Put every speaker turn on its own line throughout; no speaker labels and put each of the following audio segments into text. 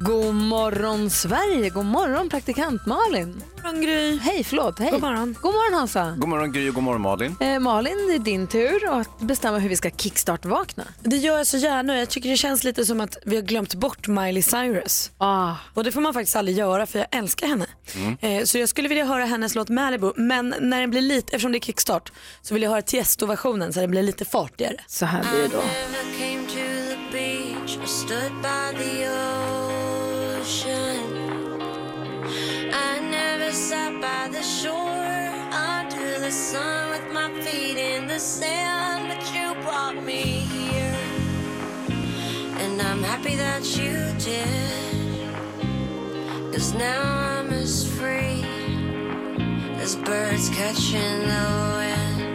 God morgon Sverige, god morgon praktikant Malin. God morgon Gry. Hej, förlåt. Hej. God morgon. God morgon Hansa.
God morgon Gry och god morgon Malin.
Eh, Malin, det är din tur att bestämma hur vi ska kickstart-vakna.
Det gör jag så gärna och jag tycker det känns lite som att vi har glömt bort Miley Cyrus.
Ah.
Och det får man faktiskt aldrig göra för jag älskar henne. Eh, så jag skulle vilja höra hennes låt Malibu men när den blir lite, eftersom det är kickstart så vill jag höra Tiesto-versionen så den blir lite fartigare.
Så här blir det då.
I'm happy that you did. Cause now I'm as free as birds catching the wind.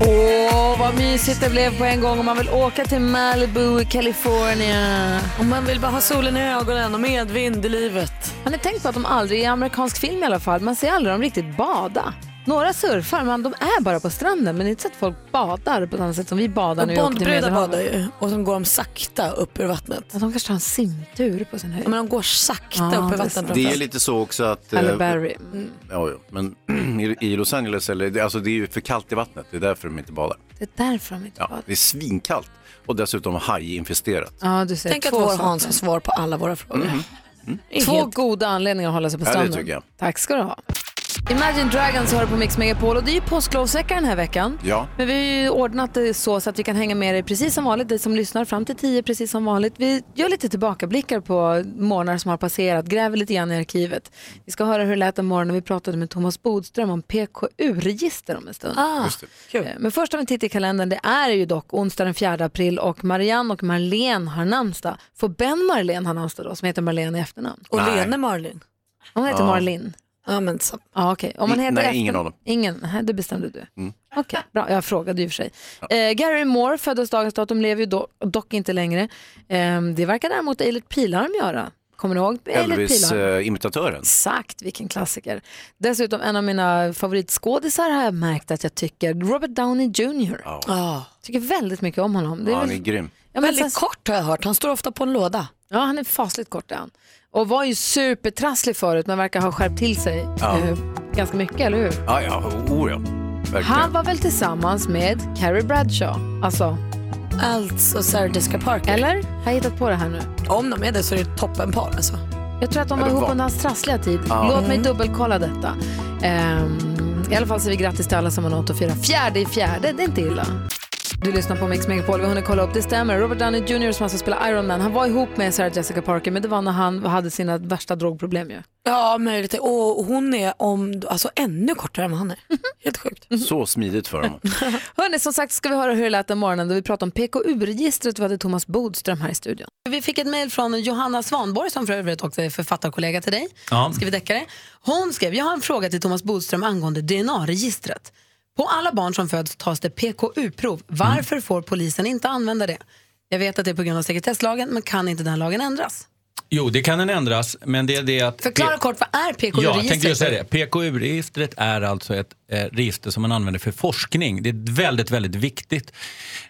Åh, vad mysigt det blev på en gång om man vill åka till Malibu i Kalifornien.
Om man vill bara ha solen i ögonen och medvind i livet.
Har ni tänkt på att de aldrig, i amerikansk film i alla fall, man ser aldrig dem riktigt bada? Några surfar, men de är bara på stranden. Men det är inte så att folk badar på samma sätt som vi badar
Och
när vi åker till
Bondbrudar
Medelhavet.
badar ju och sen går de sakta upp ur vattnet.
Ja, de kanske tar en simtur på sin höjd.
Ja, Men de går sakta
Ja,
upp
det
ur
är sant.
vattnet. Mm.
Det är ju lite så också att... eh,
Eller Barry.
ja, ja, men i- i Los Angeles, eller, det- alltså det är ju för kallt i vattnet. Det är därför de inte badar.
Det är därför de inte
Ja,
badar.
det är svinkallt och dessutom hajinfesterat.
Ja, du ser.
Tänk att
två
vår
saker.
Hans har svar på alla våra frågor. Är
Två
helt-
goda anledningar att hålla sig på
Mm. Ja, det
stranden.
tycker jag.
Tack ska du ha. Imagine Dragons hör på Mix Megapol och det är ju påsklovsvecka den här veckan.
Ja.
Men vi har ju ordnat det så, så att vi kan hänga med dig precis som vanligt, dig som lyssnar fram till tio precis som vanligt. Vi gör lite tillbakablickar på morgnar som har passerat, gräver lite grann i arkivet. Vi ska höra hur det lät en morgon när vi pratade med Thomas Bodström om PKU-register om en stund. Eh,
Ah, kul.
Men först om vi tittar i kalendern, det är ju dock onsdag den 4 april och Marianne och Marlene har namnsdag. Får Ben Marlene ha namnsdag då, som heter Marlene i efternamn?
Och
Nej.
Lene Marlin.
Hon heter Marlene.
Ja, men så.
Ja, okej. Om man
Mm,
heter
nej,
efter...
ingen av dem.
Ingen, Nej, det bestämde du. Okej, bra. Jag frågade ju för sig. Eh, Gary Moore föddes dagens datum, lever ju do- dock inte längre. Eh, det verkar däremot Eilert Pilarm göra. Kommer ni ihåg Eilert
eh,
Pilarm?
Elvis-imitatören.
Exakt, vilken klassiker. Dessutom en av mina favoritskådisar har jag märkt att jag tycker, Robert Downey Jr.
Ja.
Tycker väldigt mycket om honom. Det är
ja, han är
väl-
grym.
Ja, men sen-
Väldigt kort har jag hört. Han står ofta på en låda.
Ja, han är fasligt kort är han. Och var ju supertrasslig förut men verkar ha skärpt till sig eh, ganska mycket, eller hur?
Ja, ja, oh, ja.
Han
Verkligen.
var väl tillsammans med Carrie Bradshaw, alltså,
Alltså Sarah Jessica Parker.
eller? Har jag hittat på det här nu?
Om de är det så är det toppenpar alltså. Mm.
Jag tror att de var
de
ihop
var.
under hans trassliga tid. Låt mig dubbelkolla detta. Ehm, I alla fall säger vi grattis till alla som har nått att fira fjärde i fjärde, det är inte illa. Du lyssnar på Mix Megapol, vi har hunnit kolla upp, det stämmer. Robert Downey Jr som alltså spelar Iron Man, han var ihop med Sarah Jessica Parker men det var när han hade sina värsta drogproblem ju.
Ja, möjligt. Och hon är om, alltså ännu kortare än vad han är. Helt sjukt.
Så smidigt för honom.
Hörni, som sagt ska vi höra hur det lät den morgonen då vi pratade om PKU-registret. Vi hade Thomas Bodström här i studion. Vi fick ett mejl från Johanna Svanborg som för övrigt också är författarkollega till dig.
Ja.
Ska vi täcka det? Hon skrev, jag har en fråga till Thomas Bodström angående DNA-registret. På alla barn som föds tas det PKU-prov. Varför
Mm.
får polisen inte använda det? Jag vet att det är på grund av sekretesslagen, men kan inte den lagen ändras?
Jo, det kan den ändras, men det är det att...
Förklara kort, vad är
Ja,
PKU-registret?
jag tänkte just säga det. PKU-registret är alltså ett eh, register som man använder för forskning. Det är ett väldigt, väldigt viktigt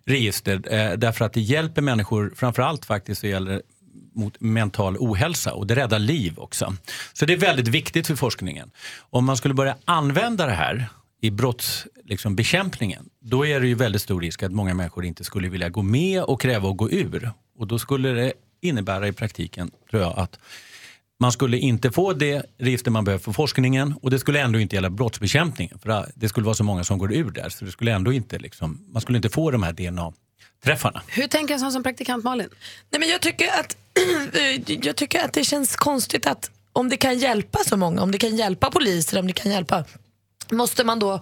register eh, därför att det hjälper människor, framförallt faktiskt så gäller det mot mental ohälsa och det räddar liv också. Så det är väldigt viktigt för forskningen. Om man skulle börja använda det här i brottsbekämpningen, liksom, bekämpningen, då är det ju väldigt stor risk att många människor inte skulle vilja gå med och kräva att gå ur. Och då skulle det innebära i praktiken, tror jag, att man skulle inte få det register man behöver för forskningen och det skulle ändå inte gälla brottsbekämpningen. För det skulle vara så många som går ur där så det skulle ändå inte liksom, man skulle inte få de här DNA-träffarna.
Hur tänker en sån som praktikant Malin?
Nej, men jag, tycker att, jag tycker att det känns konstigt att om det kan hjälpa så många, om det kan hjälpa poliser, om det kan hjälpa, måste man då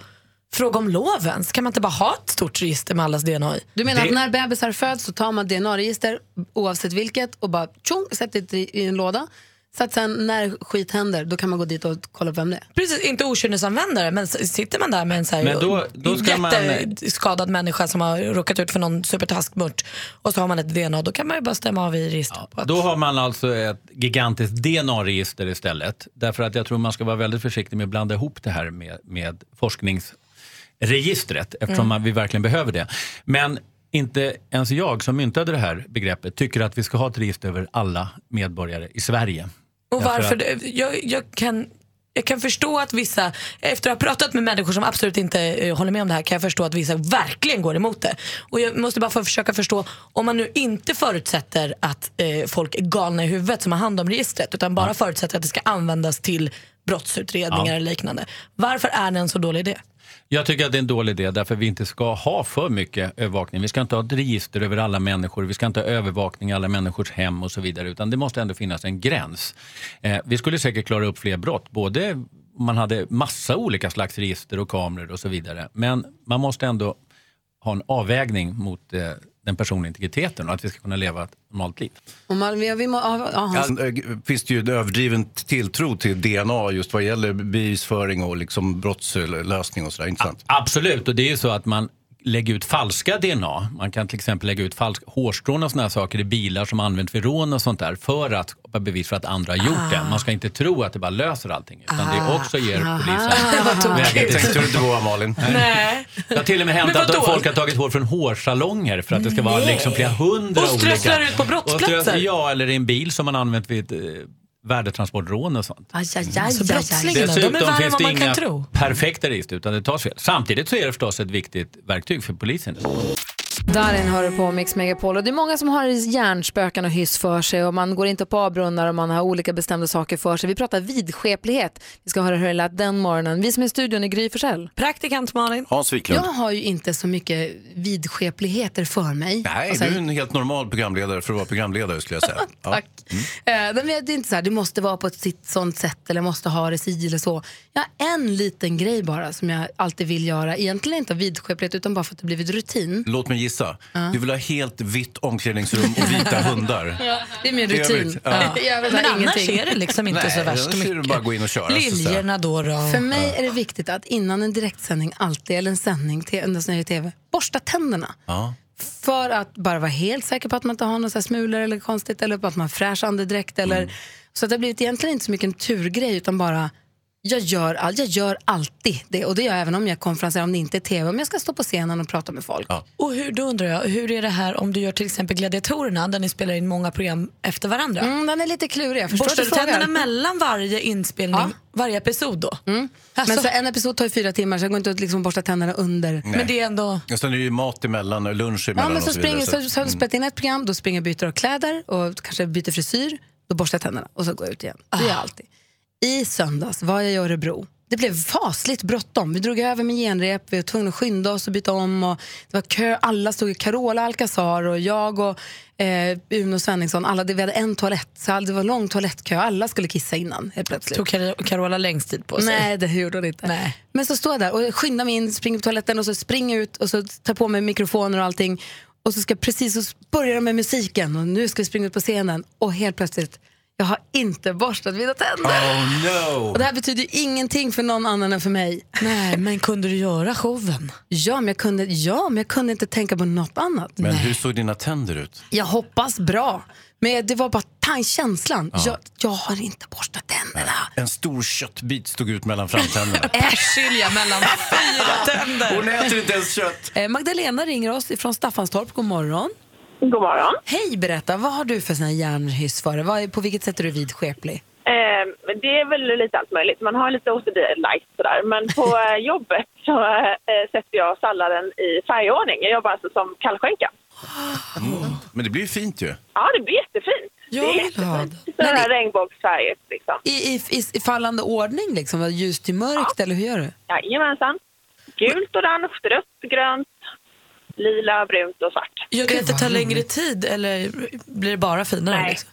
fråga om lov ens? Kan man inte bara ha ett stort register med allas DNA i?
Du menar
Det-
att när bebisar föds så tar man DNA-register oavsett vilket och bara tjong, sätter det i en låda. Så att sen när skit händer då kan man gå dit och kolla upp vem det är.
Precis, inte okynnesanvändare, men s- sitter man där med en så här
Men då- då ska man-
jätteskadad människa som har råkat ut för någon supertaskmört och så har man ett DNA, då kan man ju bara stämma av i registret. på att-
Då har man alltså ett gigantiskt DNA-register istället. Därför att jag tror man ska vara väldigt försiktig med att blanda ihop det här med, med forsknings registret eftersom
Mm.
man, vi verkligen behöver det. Men inte ens jag som myntade det här begreppet tycker att vi ska ha ett register över alla medborgare i Sverige.
Och
Därför
varför
att-
det- jag, jag, kan, jag kan förstå att vissa, efter att ha pratat med människor som absolut inte eh, håller med om det här, kan jag förstå att vissa verkligen går emot det. Och jag måste bara få försöka förstå, om man nu inte förutsätter att eh, folk är galna i huvudet som har hand om registret, utan bara förutsätter att det ska användas till brottsutredningar
Ja.
eller liknande. Varför är det en så dålig idé?
Jag tycker att det är en dålig idé därför vi inte ska ha för mycket övervakning. Vi ska inte ha ett register över alla människor, vi ska inte ha övervakning i alla människors hem och så vidare. Utan det måste ändå finnas en gräns. Eh, vi skulle säkert klara upp fler brott, både om man hade massa olika slags register och kameror och så vidare. Men man måste ändå ha en avvägning mot eh, den personliga integriteten och att vi ska kunna leva ett normalt liv.
Och man, vi, vi må, ja, ja,
Sen eh, finns det ju en överdriven tilltro till DNA just vad gäller bevisföring och liksom brottslösning och sådär. Inte sant?
Absolut, och det är ju så att man lägger ut falska DNA. Man kan till exempel lägga ut falsk hårstrån och såna här saker i bilar som används vid rån och sånt där för att skapa bevis för att andra har gjort det. Man ska inte tro att det bara löser allting utan
Ah.
det också ger polisen vägen till
Tänkte du inte på Malin?
Nej.
det har till och med hänt
Men vadå?
att folk har tagit hår från hårsalonger för att det ska vara liksom flera hundra
Och strösslar
olika.
ut på brottsplatser?
Och strösslar- Ja, eller i en bil som man använt vid eh, värdetransportrån och sånt.
aj, aj, aj,
Så brottslingar.
aj.
Men Alltså, de
Dessutom
är värre än
finns
vad
det
man kan
inga
tro.
perfekta register utan det tas fel. Samtidigt så är det förstås ett viktigt verktyg för polisen.
Darin hör du på Mix Megapol och det är många som har hjärnspöken och hyss för sig och man går inte på avbrunnar och man har olika bestämda saker för sig. Vi pratar vidskeplighet. Vi ska höra hur det lät den morgonen. Vi som är i studion är Gry Forssell.
Praktikant Malin.
Hans Wiklund.
Jag har ju inte så mycket vidskepligheter för mig.
Nej,
Alltså,
du är en helt normal programledare för att vara programledare skulle jag säga. Ja. Mm.
Tack. Eh, men jag- det är inte så här, du måste vara på ett sitt sånt sätt eller måste ha det si eller så. Jag har en liten grej bara som jag alltid vill göra. Egentligen inte av vidskeplighet utan bara för att det blivit rutin.
Låt mig gissa. Du vill ha helt vitt omklädningsrum och vita hundar.
Det är min
I övrigt,
rutin.
ja.
I övrigt har
Men
jag
annars
ingenting.
är det liksom inte
Nej,
så värst
annars är det
mycket.
bara att gå in och köra. alltså så att säga.
Liljorna då då?
För mig är det viktigt att innan en direktsändning alltid, eller en sändning, te- endast när det är tv, borsta tänderna.
Ja.
För att bara vara helt säker på att man inte har några så här smulor eller konstigt eller på att man har fräsch andedräkt. Eller, Så att det har blivit egentligen inte så mycket en turgrej utan bara jag gör, all, jag gör alltid det. Och det gör jag även om jag konferenserar, om det inte är tv, om jag ska stå på scenen och prata med folk.
Och hur, då undrar jag, hur är det här om du gör till exempel Gladiatorerna där ni spelar in många program efter varandra?
Mm, den är lite klurig, jag förstår
Borstar
att
du
du frågar.
tänderna mellan varje inspelning,
Ja. Mm.
varje episod då? Alltså,
Men
men,
så en episod tar ju fyra timmar så jag går inte att liksom borsta tänderna under.
det är ändå...
Och sen är det ju mat emellan, och lunch
Ja,
emellan
men
och
så
så mm. vidare.
springer, så, så har du spelat in ett program, då springer jag och byter av kläder och kanske byter frisyr, då borstar jag tänderna och så går jag ut igen. Det gör jag alltid. I söndags var jag i Örebro. Det blev fasligt bråttom. Vi drog över med genrep, vi var tvungna att skynda oss och byta om. Och det var kö, alla stod i Carola Alcazar och jag och eh, Uno Svenningsson. Alla, det- vi hade en toalett, så all- det var lång toalettkö. Alla skulle kissa innan helt plötsligt.
Tog Car- Carola längst tid på sig?
Nej, det gjorde hon inte.
Nej.
Men så står jag där och skyndar mig in, springer på toaletten och så springer ut och så tar på mig mikrofoner och allting. Och så ska jag precis så börjar de med musiken och nu ska vi springa ut på scenen och helt plötsligt, jag har inte borstat mina tänder.
Oh no!
Och det här betyder ju ingenting för någon annan än för mig.
Nej, men kunde du göra showen?
Ja, men jag kunde, ja, men jag kunde inte tänka på något annat.
Men hur såg dina tänder ut?
Jag hoppas bra, men det var bara tan- känslan. Jag, jag har inte borstat tänderna.
En stor köttbit stod ut mellan framtänderna.
Persilja mellan fyra tänder.
Hon äter inte ens kött!
Eh, Magdalena ringer oss från Staffanstorp. God morgon.
God morgon.
Hej, berätta. Vad har du för sån här järnhyss för dig? Vad är- På vilket sätt är du vidskeplig?
Eh, men det är väl lite allt möjligt. Man har lite OCD-light sådär. Men på eh, jobbet så eh, sätter jag salladen i färgordning. Jag jobbar alltså som kallskänka.
Mm. Men det blir ju fint ju.
Ja, det blir jättefint.
Jag
det är
vill
jättefint. Sådana här regnbågsfärger liksom.
I, i, i, i fallande ordning, liksom? Vad, Ljus till mörkt, eller hur gör du?
Jajamensan. Gult, orange, rött, grönt, lila, brunt och svart.
Gör det inte ta längre tid eller blir det bara finare?
Nej.
Liksom?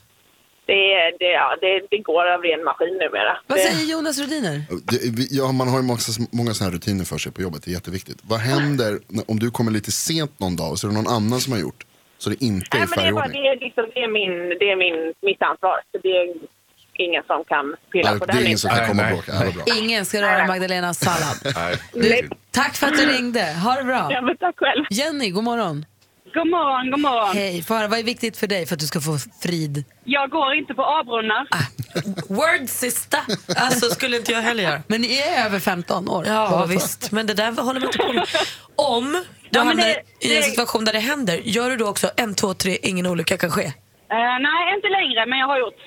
Det, är- det, ja, det, det går av ren maskin numera.
Vad
det,
säger Jonas Rhodiner?
Det, vi- ja, man har ju massa, många sådana här rutiner för sig på jobbet, det är jätteviktigt. Vad händer när- om du kommer lite sent någon dag och så är det någon annan som har gjort? Så det inte är
Nej,
i
men det, är bara,
färgordning.
det, är liksom, det är, min, det är min, mitt ansvar. Så det är ingen som kan pilla
Nej,
på
Det
den. liksom.
är
listan.
ingen som kan
Nej,
komma
nej.
och bråka. Ja, vad bra.
Ingen ska röra Magdalenas sallad.
Nej.
Du, tack för att du ringde. Ha det
Ja,
bra.
men tack själv.
Jenny, god morgon.
God morgon, god morgon.
Hej, Farah, vad är viktigt för dig för att du ska få frid?
Jag går inte på A-brunnar.
Ah. Word sista! Alltså skulle inte jag heller göra.
Men ni är över 15 år.
Ja
båda två.
visst, men det där håller man inte på med. Om du
Ja, men
hamnar
det-
i en
det-
situation där det händer, gör du då också en, två, tre, ingen olycka kan ske?
Eh, nej, inte längre, men jag har gjort.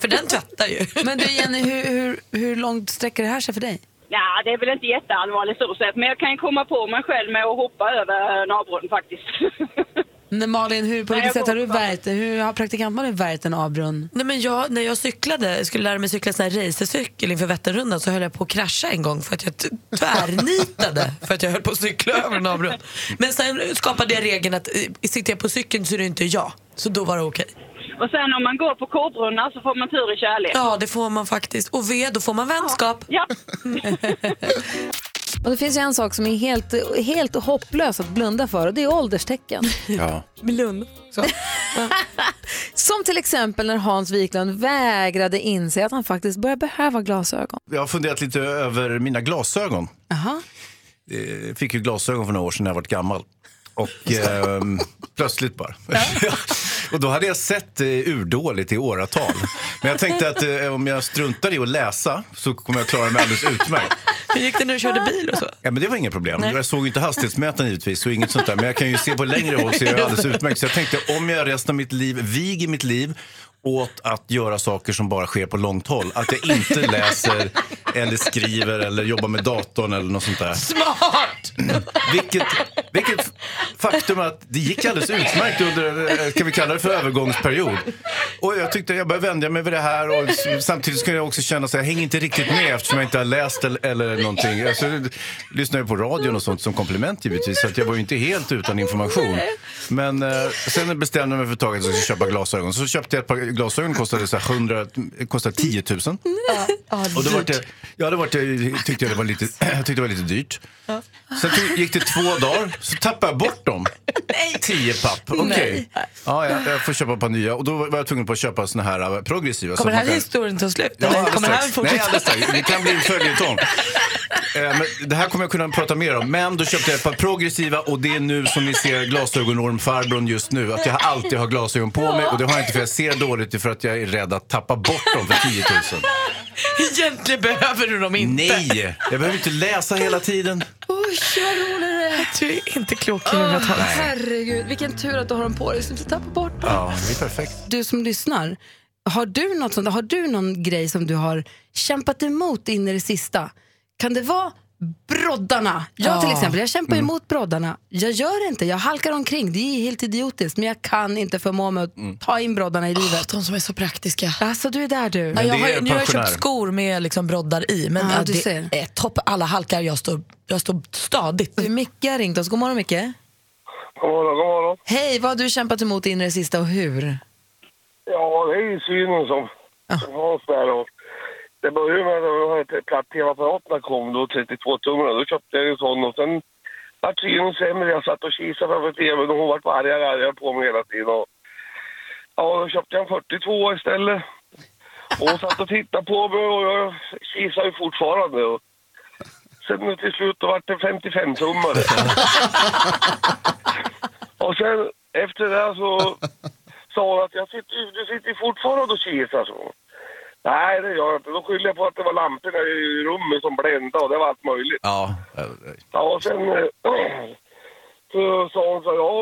För den tvättar ju.
Men du Jenny, hur, hur, hur långt sträcker det här sig för dig?
Ja, det är väl inte jätteallvarligt så sett, men jag kan ju komma på mig själv med att hoppa över en A-brunn faktiskt.
Nej, Malin, hur, på
jag
vilket sätt har du
går på-
värjt Hur har praktikant-Malin värjt en avbrunn?
Nej, men jag, när jag cyklade, jag skulle lära mig cykla sån här racercykel inför Vätternrundan så höll jag på att krascha en gång för att jag t- tvärnitade för att jag höll på att cykla över en avgrund. Men sen skapade jag regeln att eh, sitter jag på cykeln så är det inte jag. Så då var det okej.
och sen om man går på K-brunnar så får man tur i kärlek.
Ja, det får man faktiskt. Och V, då får man vänskap.
Ja.
Och det finns ju en sak som är helt, helt hopplös att blunda för och det är ålderstecken.
Ja.
Som till exempel när Hans Wiklund vägrade inse att han faktiskt börjar behöva glasögon.
Jag har funderat lite över mina glasögon. Eh, Fick ju glasögon för några år sedan när jag var gammal. Och ehm, plötsligt bara. och då hade jag sett eh, urdåligt i åratal. Men jag tänkte att eh, om jag struntar i att läsa så kommer jag klara mig alldeles utmärkt.
Hur gick det när du körde bil och så?
Ja, men det var inga problem. Jag såg ju inte hastighetsmätaren givetvis, så inget sånt där. Men jag kan ju se på längre håll så är jag alldeles utmärkt. Så jag tänkte om jag resten av mitt liv viger mitt liv åt att göra saker som bara sker på långt håll. Att jag inte läser eller skriver eller jobbar med datorn eller något sånt där.
Smart!
Vilket, vilket faktum att det gick alldeles utmärkt under, eh, kan vi kalla det för övergångsperiod. Och jag tyckte jag började vänja mig vid det här och s- samtidigt kunde jag också känna att jag hänger inte riktigt med eftersom jag inte har läst eller, eller någonting. Alltså, jag lyssnade ju på radion och sånt som komplement givetvis så att jag var ju inte helt utan information. Men eh, sen bestämde jag mig för ett tag att jag skulle köpa glasögon. Så köpte jag ett par glasögon, kostade, så här 100, kostade 10 000. Och då var det, ja, då var det, tyckte jag det var lite, jag tyckte det var lite dyrt. Sen tog, gick det två dagar, så tappade jag bort dem. Tio papp. Okej. Ja, jag, jag får köpa ett par nya. Och då var jag tvungen på att köpa såna här eh, progressiva.
Kommer
så att
den här
man kan-
historien ta slut?
Ja,
Eller
alldeles
kommer den här
strax.
fortsätta?
Nej, alldeles strax. Det kan bli en följetong. Eh, Men det här kommer jag kunna prata mer om. Men då köpte jag ett par progressiva och det är nu som ni ser glasögonormfarbrorn just nu. Att jag alltid har glasögon på mig och det har jag inte för jag ser dåligt det är för att jag är rädd att tappa bort dem för 10 000.
Egentligen behöver du dem inte.
Nej, jag behöver inte läsa hela tiden.
Du är inte klok i huvudet.
Herregud, vilken tur att du har dem på dig så du inte tappar bort dem.
Ja, det är perfekt.
Du som lyssnar, har du, något sånt, har du någon grej som du har kämpat emot in i det sista? Kan det vara broddarna? Jag till exempel, jag kämpar
Mm.
emot broddarna. Jag gör det inte, jag halkar omkring. Det är helt idiotiskt, men jag kan inte förmå mig att ta in broddarna i livet.
Mm. De som är så praktiska.
Alltså du är där du.
Ja,
Men
jag
det
har,
är
ju- nu har jag
pensionär.
köpt skor med liksom broddar i, men
Ja,
ja,
du
det
ser.
är topp. Alla halkar, jag står, jag står stadigt.
Micke har ringt oss. God morgon Micke.
God morgon, god morgon.
Hej, vad har du kämpat emot in i det sista och hur?
Ja, det är ju synen som som Hans där. Och det började med när de här platt-tv-apparaterna kom, då 32 tummar. Då köpte jag ju en sån och sen vart synen sämre. Jag satt och kisade framför tvn och hon vart argare och argare på mig hela tiden. Och, ja, då köpte jag en 42 istället. Och hon satt och tittade på mig och jag kisade ju fortfarande. Och sen nu till slut då vart det 55-tummare. och sen efter det så sa hon att jag sitter, du sitter fortfarande och kisar. Så. Nej, det gör jag inte. Då skyller jag på att det var lamporna i rummet som bländade och det var allt möjligt.
Ja.
Ja, och sen eh, så sa hon så här, ja,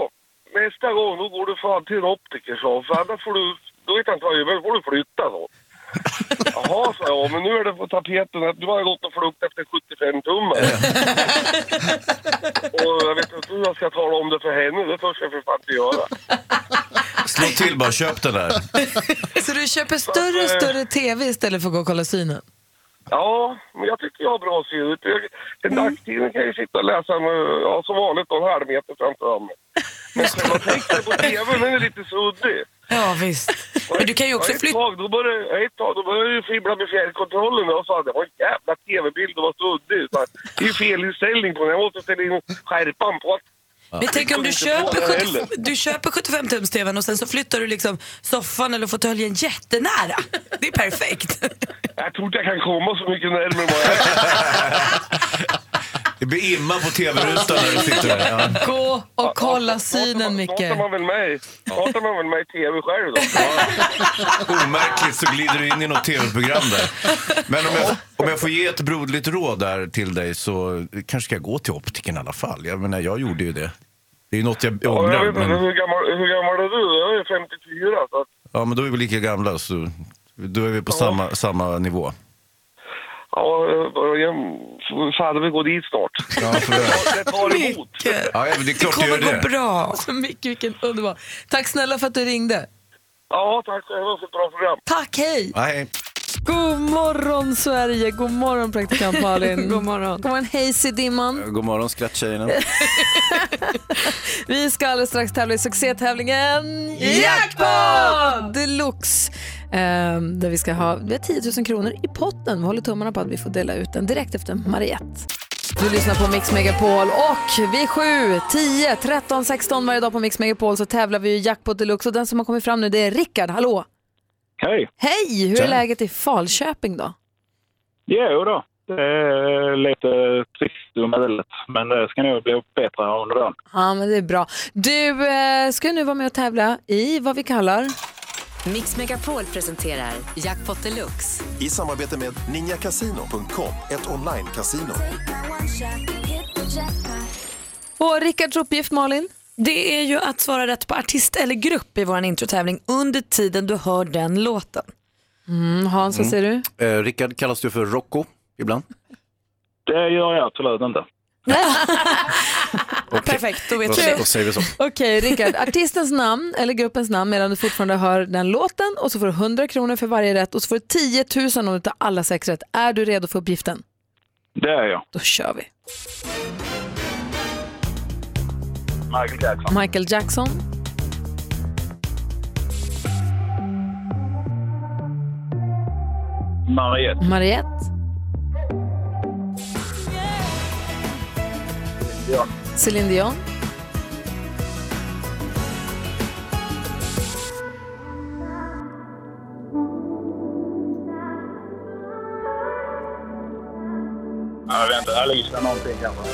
nästa gång då går du fan till en optiker, sa hon, för annars får du, då vet jag inte vad jag gör, men då får du flytta då. Jaha, sa jag, men nu är det på tapeten att du har gått och flukt efter 75 tummar. och jag vet inte hur jag ska tala om det för henne, det törs jag för fan inte göra.
Slå till bara, köp den där.
Så du köper större och större tv istället för att gå och kolla synen?
Ja, men jag tycker jag har bra syn. Jag- En dagstidning kan jag ju sitta och läsa med, ja, som vanligt då, en halv meter framför mig. Men själva texten på TV den är lite suddig.
Ja, visst. Men du kan ju också
ja, ett,
flytta.
tag, då började, ja, ett tag då började jag ju fibbla med fjärrkontrollen och jag sa att det var en jävla TV-bild och var suddig. Så att Det är ju fel inställning på den. Jag måste ställa in skärpan på att
Men tänk om du
Det går inte
köper,
på det
75, du köper 75 tums tvn och sen så flyttar du liksom soffan eller fåtöljen jättenära. Det är perfekt.
jag tror inte jag kan komma så mycket närmare vad jag är.
Det blir imma på tv-rutan när du sitter där. Ja.
Gå och kolla synen,
Snart är
Micke.
man väl med, snart är man väl med i tv själv då.
Omärkligt så glider du in i något tv-program där. Men om jag, om jag får ge ett broderligt råd där till dig så kanske ska jag gå till optiken i alla fall. Jag menar, jag gjorde ju det. Det är ju något jag
Ja, jag
ångrar.
vet inte,
Men,
hur, gammal, hur gammal är du? Jag är 54. Så att,
ja, men då är vi lika gamla så då är vi på samma, samma nivå.
ja, jag- jag- fan, vi går dit snart.
Ja, för det.
Det tar emot.
Ja, men det är klart
Det
du gör
kommer gå
det.
bra.
Alltså, Micke, vilken underbar. Tack snälla för att du ringde.
Ja, tack själva för ett bra program.
Tack, hej!
Nej,
God morgon, Sverige. God morgon, praktikant Malin. God morgon. God morgon, Hayes i dimman.
god morgon skrattjejerna.
Vi ska alldeles strax tävla i succétävlingen Jackpot Deluxe. Ehm, där vi ska ha vi har 10 000 kronor i potten. Vi håller tummarna på att vi får dela ut den direkt efter Mariette. Du lyssnar på Mix Megapol och vid 7, 10, 13, 16 varje dag på Mix Megapol så tävlar vi i Jackpot Deluxe och den som har kommit fram nu det är Rickard. Hallå!
Hej!
Hej! Hur är
Tja.
läget i Falköping då?
Jo då, det är lite trist och medlet. Men det ska nog bli bättre under dagen.
Ja men det är bra. Du eh, ska ju nu vara med och tävla i vad vi kallar
Mix Megapol presenterar Jackpot Deluxe.
I samarbete med ninjakasino.com, ett online-casino.
och Rickards uppgift Malin?
Det är ju att svara rätt på artist eller grupp i vår introtävling under tiden du hör den låten.
Mm, Hans, vad säger du?
Eh, Rickard kallas du för Rocco ibland.
Det gör jag absolut inte.
Perfekt, då vet
Då,
du.
då säger vi så.
Okej, Rickard. Artistens namn eller gruppens namn medan du fortfarande hör den låten och så får du 100 kronor för varje rätt och så får du 10 000 om du tar alla sex rätt. Är du redo för uppgiften?
Det är jag.
Då kör vi.
Michael Jackson.
Michael Jackson,
Mariette.
Mariette,
Ja.
Céline Dion,
Jag vet inte, Alicia någonting kanske.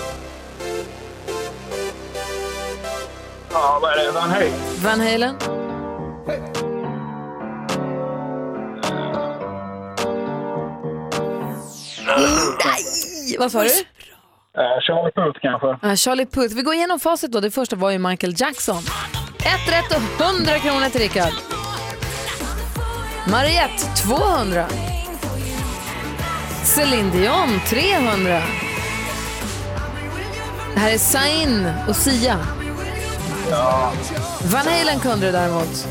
Ja, vad är det? Van Hej?
Van Halen, vad sa du?
Charlie Puth kanske?
Ah, Charlie Puth. Vi går igenom facit då. Det första var ju Michael Jackson. Ett rätt och 100 kronor till Rickard. Mariette 200. Céline Dion 300. Det här är Sain och Sia. Van Halen kunde det däremot.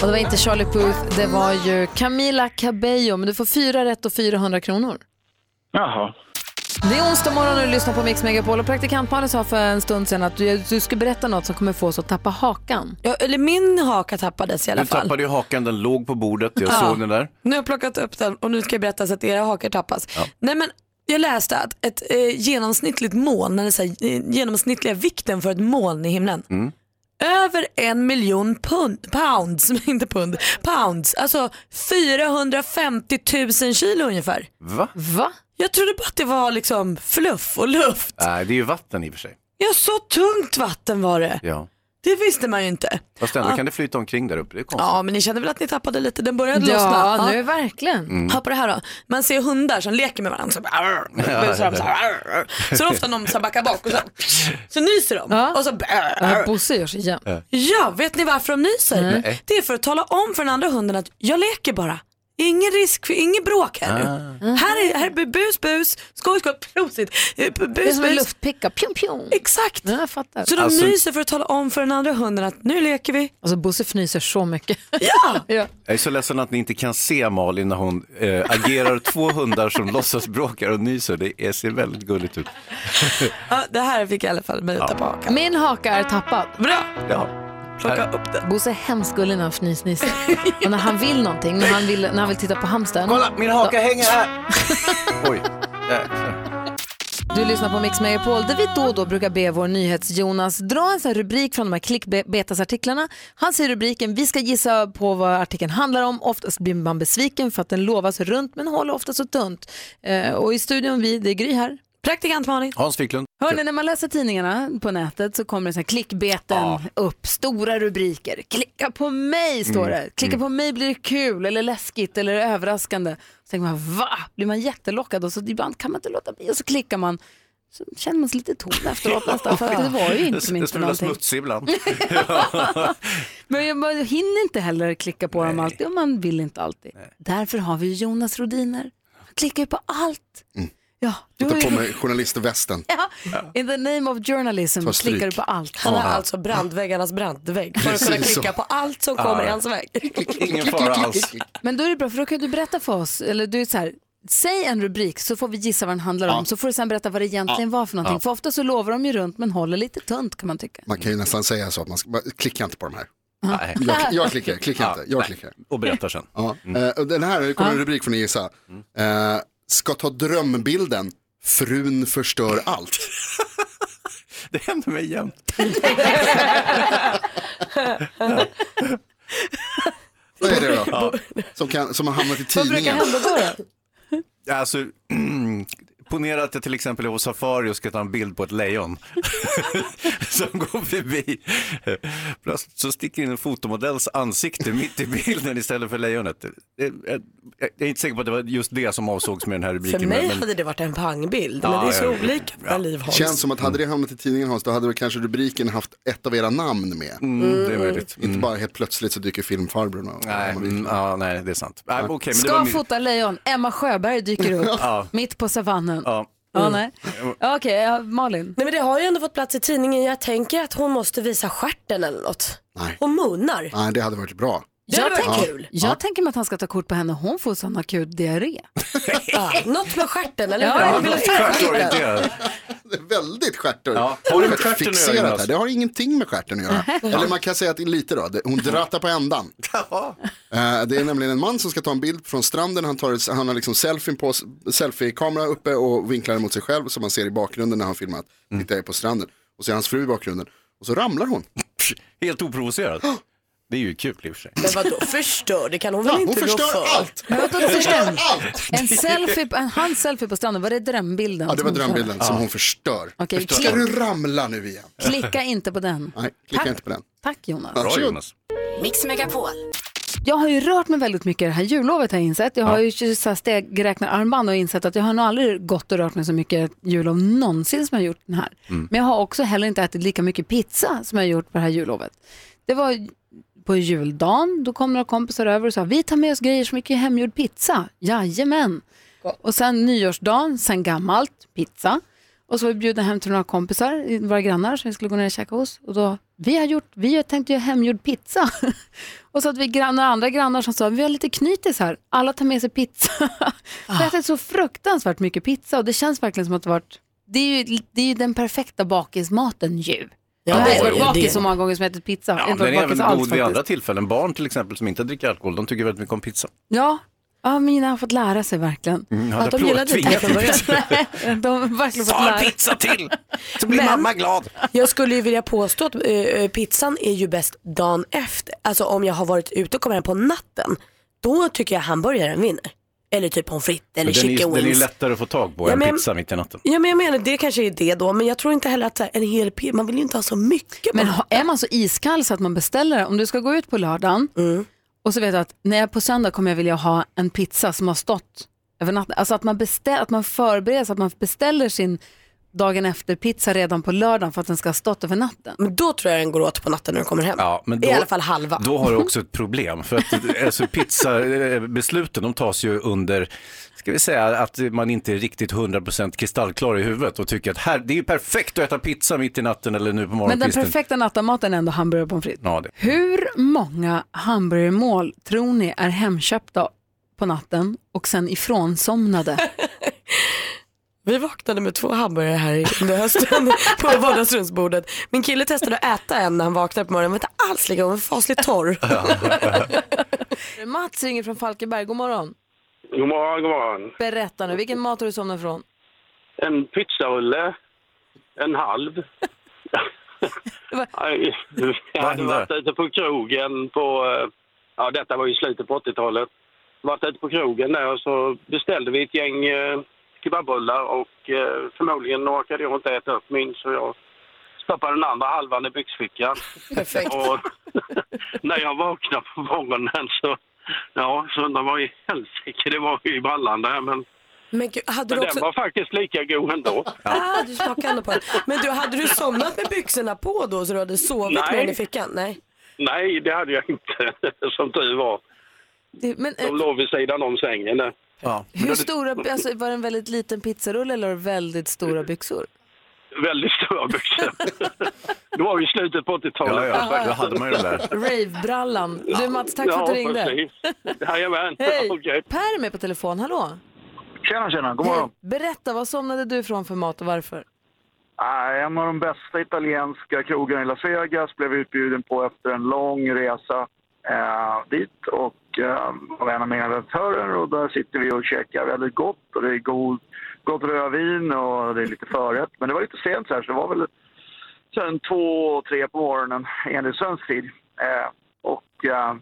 Och det var inte Charlie Puth, det var ju Camila Cabello. Men du får fyra rätt och 400 kronor.
Jaha.
Det är onsdag morgon och du lyssnar på Mix Megapol och praktikant Malin sa för en stund sedan att du, du skulle berätta något som kommer få oss att tappa hakan.
Ja, eller min haka tappades i alla
Du
fall.
tappade ju hakan, den låg på bordet. Jag såg den där.
Nu har jag plockat upp den och nu ska jag berätta så att era hakar tappas. Nej, men jag läste att ett eh, genomsnittligt moln, eller så här, eh, genomsnittliga vikten för ett moln i
Mm.
himlen, över en miljon pund, pounds, inte pund, pounds, alltså 450 000 kilo ungefär.
Va?
Va?
Jag trodde bara att det var liksom fluff och luft.
Nej, det är ju vatten i och för sig.
Ja, så tungt vatten var det.
Ja.
Det visste man ju inte.
Fast ändå kan det flyta omkring där uppe. Det är konstigt.
Ja, men ni kände väl att ni tappade lite, den började lossna.
Ja, nu verkligen.
Hör på det här då. Man ser hundar som leker med varandra. Så, bara, arr, så, de så, här, arr, arr. så är det ofta någon som backar bak och så, så nyser de.
Ja.
Och så,
Ja,
arr.
Bosse gör sig jämt.
Ja, vet ni varför de nyser? Det är för att tala om för den andra hunden att jag leker bara. Det är Ingen risk, för, ingen bråk här nu.
Ah.
Här är, här är bus, bus, skoj, skoj, prosit, eh,
Det är
bus,
som en
bus.
luftpicka. Pjum, pjum.
Exakt.
Ja, jag fattar.
Så de
Alltså-
nyser för att tala om för den andra hunden att nu leker vi.
Alltså Bosse fnyser så mycket.
Ja!
ja.
Jag är så ledsen att ni inte kan se Malin när hon eh, agerar två hundar som låtsas bråkar och nyser. Det är, ser väldigt gulligt ut.
ja det här fick jag i alla fall mig att tappa hakan.
Min haka är tappad.
Bra,
Ja.
plocka upp den.
Bosse är hemskt gullig när han fnysnissar. Och när han vill någonting, när han vill, när han vill titta på hamstern.
Kolla, min haka hänger här! Oj. Jäklar.
Du lyssnar på Mix Megapol där vi då och då brukar be vår nyhets-Jonas dra en sån här rubrik från de här klickbetasartiklarna. Han säger rubriken, vi ska gissa på vad artikeln handlar om. Oftast blir man besviken för att den lovas runt men håller ofta så tunt. Eh, och i studion vi, det är Gry här. Praktikant Malin.
Hans Wiklund.
Hörni, när man läser tidningarna på nätet så kommer det så här klickbeten upp, stora rubriker. Klicka på mig står
Mm,
det. Klicka
mm.
på mig blir det kul eller läskigt eller överraskande. Så tänker man, va? Blir man jättelockad och så ibland kan man inte låta bli och så klickar man. Så känner man sig lite tom efteråt nästan för att det var ju inte
Det
inte
smular
någonting.
smutsig ibland.
Men jag- man hinner inte heller klicka på dem alltid och man vill inte alltid. Därför har vi ju Jonas Rodiner. Han klickar ju på allt. Ja, du har
Ta
ju-
på mig journalistvästen.
Ja. In the name of journalism
Ta stryk.
klickar du på allt.
Han har Ja. alltså
brandväggarnas brandvägg
för att kunna Precis så. klicka på
allt
som kommer Ja. i hans
väg.
Ingen fara alls.
Men då är det bra för då kan du berätta för oss, eller du är så här, säg en rubrik så får vi gissa vad den handlar om
Ja.
så får du sen berätta vad det egentligen
Ja.
var för någonting.
Ja.
För ofta så lovar de ju runt men håller lite tunt kan man tycka.
Man kan ju nästan säga så att man, ska, man klicka inte på de här.
Nej.
Jag, jag klickar, klicka inte, jag klickar.
Och berättar sen. Mm.
Ja. Eh, och Den här, det kommer en rubrik från Gissa. Eh, ska ta drömbilden, frun förstör allt.
Det händer mig jämt.
Vad är det då? Som, kan, som har hamnat i tidningen.
då?
Alltså, ponera att jag till exempel är på safari och ska ta en bild på ett lejon som går förbi. Plötsligt så sticker in en fotomodells ansikte mitt i bilden istället för lejonet. Jag, jag, jag är inte säker på att det var just det som avsågs med den här rubriken.
För mig
men-
hade det varit en pangbild,
Ja,
men det är så
ja, ja.
olika ja. liv Hans.
Känns som att hade det hamnat i tidningen Hans, då hade väl kanske rubriken haft ett av era namn med.
Mm, det är möjligt.
Inte bara helt plötsligt så dyker filmfarbrorn och-
Nej, mm, ja, nej, det är sant. Nej, okej, men det var
Ska
min-
fota lejon, Emma Sjöberg dyker upp
Ja.
mitt på savannen.
Ja.
Ja, nej. Okej, ja, Malin.
Nej men det har ju ändå fått plats i tidningen. Jag tänker att hon måste visa stjärten eller något.
Nej.
Och munnar.
Nej, det hade varit bra.
Jag, tänker, jag
Ja.
tänker mig att han ska ta kort på henne, hon får sån akut diarré.
Ja, Ah, något med stjärten eller
Ja,
hur?
Stjärtorienterad.
Det är väldigt stjärtor.
Ja, har det med
Väldigt
stjärten att göra,
fixerat
Jonas?
här. Det har ingenting med stjärten att göra. Eller man kan säga att det är lite då. Det- Hon drattar på ändan. Eh, Det är nämligen en man som ska ta en bild från stranden. Han, tar, ett- han har liksom selfien på, selfie-kamera uppe och vinklar mot sig själv som man ser i bakgrunden när han filmat.
Mm.
Tittar jag på stranden och ser hans fru i bakgrunden. Och så ramlar hon.
Helt oprovocerat. Det är ju kul i och för sig.
Men vadå förstör? Det kan hon väl
Ja,
inte
hon förstör
rå för?
allt.
Men vadå,
Hon förstör
dröm? En selfie, en, hans selfie på stranden, var det drömbilden?
Ja, det
som
var
hon
drömbilden
sa?
som hon förstör.
Okej,
Förstör.
klick.
Ska du ramla nu igen?
Klicka inte på den.
Nej, klicka
Tack.
inte på den.
Tack Jonas.
Varsågod.
Mix Megapol.
Jag har ju rört mig väldigt mycket det här jullovet har jag insett. Jag har
Ja.
ju så här stegräknararmband och insett att jag har nog aldrig gått och rört mig så mycket jullov någonsin som jag har gjort den här.
Mm.
Men jag har också heller inte ätit lika mycket pizza som jag har gjort på det här jullovet. Det var på juldagen, då kom några kompisar över och sa vi tar med oss grejer som mycket hemgjord pizza. Jajamän. Och sen nyårsdagen, sen gammalt, pizza. Och så var vi bjudna hem till några kompisar, våra grannar som vi skulle gå ner och käka hos. Och då, vi har gjort, vi har tänkt göra hemgjord pizza. och så hade vi grannar, andra grannar som sa, vi har lite knytis här, alla tar med sig pizza. Vi har ätit så fruktansvärt mycket pizza och det känns verkligen som att det varit, det är ju, det är ju den perfekta bakismaten ju.
Ja,
jag har
det
inte
är
varit
ju det.
bakis så många gånger som jag ätit pizza. Jag har
Ja,
inte
den
varit
är
bakis
även god
alls
vid
faktiskt.
andra tillfällen. Barn till exempel som inte dricker alkohol, de tycker väldigt mycket om pizza.
Ja. ja, mina har fått lära sig verkligen.
Mm, hade
att de
applåd
gillade inte det
tvingat
från början.
till
Nej, de har verkligen fått lära sig.
till! Så
blir Men- mamma
glad.
Jag skulle ju vilja påstå att eh, eh, pizzan är ju bäst dagen efter. Alltså om jag har varit ute och kommer hem på natten. Då tycker jag hamburgaren vinner. Eller typ pommes frites eller
Men den,
chicken
är, den är
wings.
lättare att få tag på
Ja,
än
men-
pizza mitt i natten.
Ja men jag menar det kanske är det då. Men jag tror inte heller att så här, en hel pizza, man vill ju inte ha så mycket.
Men ha- är man så iskall så att man beställer, om du ska gå ut på lördagen
Mm.
och så vet du att när jag är på söndag kommer jag vilja ha en pizza som har stått över natten. Alltså att man, beställ, att man förbereder sig, att man beställer sin dagen efter-pizza redan på lördagen för att den ska ha stått över natten.
Men då tror jag den går åt på natten när du kommer hem.
Ja, men då,
I alla fall halva.
Då har du också ett problem. För att alltså, pizzabesluten de tas ju under, ska vi säga att man inte är riktigt 100% kristallklar i huvudet och tycker att här, det är ju perfekt att äta pizza mitt i natten eller nu på
Men den
morgonkvisten.
perfekta nattamaten är ändå hamburgare och pommes frites.
Ja, det.
Hur många hamburgermål tror ni är hemköpta på natten och sen ifrånsomnade?
Vi vaknade med två hamburgare här i- under hösten på vardagsrumsbordet. Min kille testade att äta en när han vaknade på morgonen. Den var inte alls lika god, den var fasligt torr.
Mats ringer från Falkenberg, god morgon.
God morgon, god morgon.
Berätta nu, vilken mat har du somnat från?
en pizzarulle, en halv. Nej, Jag hade varit ute på krogen på, eh, ja detta var ju slutet på 80-talet. Varit ute på krogen där och så beställde vi ett gäng eh, kebabbullar och eh, förmodligen orkade jag inte äta upp min så jag stoppade den andra halvan i byxfickan.
Perfekt.
Och när jag vaknade på morgonen så, ja så undrar man vad i helsike det var i ballan där men
Men gud, hade
men
du
den
också...
var faktiskt lika god ändå.
Ah, du smakade ändå på den. Men du, hade du somnat med byxorna på då så du hade sovit
Nej.
med den i fickan? Nej.
Nej, det hade jag inte, som tur var.
Det, men, eh,
De låg vid sidan om sängen. där.
hur stora, alltså, var det en väldigt liten pizzarulle eller var det väldigt stora byxor?
Väldigt stora byxor. det var ju slutet på 80-talet.
Ja, ja, då hade man ju det där.
Rave-brallan. Du Mats, tack för att du ringde.
Jajamän.
Hej!
Okej.
Per är med på telefon, hallå?
Tjena, tjena. God morgon.
Berätta, vad somnade du från för mat och varför?
Ah, en av de bästa italienska krogarna i Las Vegas blev jag utbjuden på efter en lång resa eh, dit och eh, av en av mina redaktörer och där sitter vi och käkar väldigt gott och det är god, gott rödvin och det är lite förrätt. Men det var lite sent så här så det var väl sen två, tre på morgonen enligt svensk tid. Eh, och eh,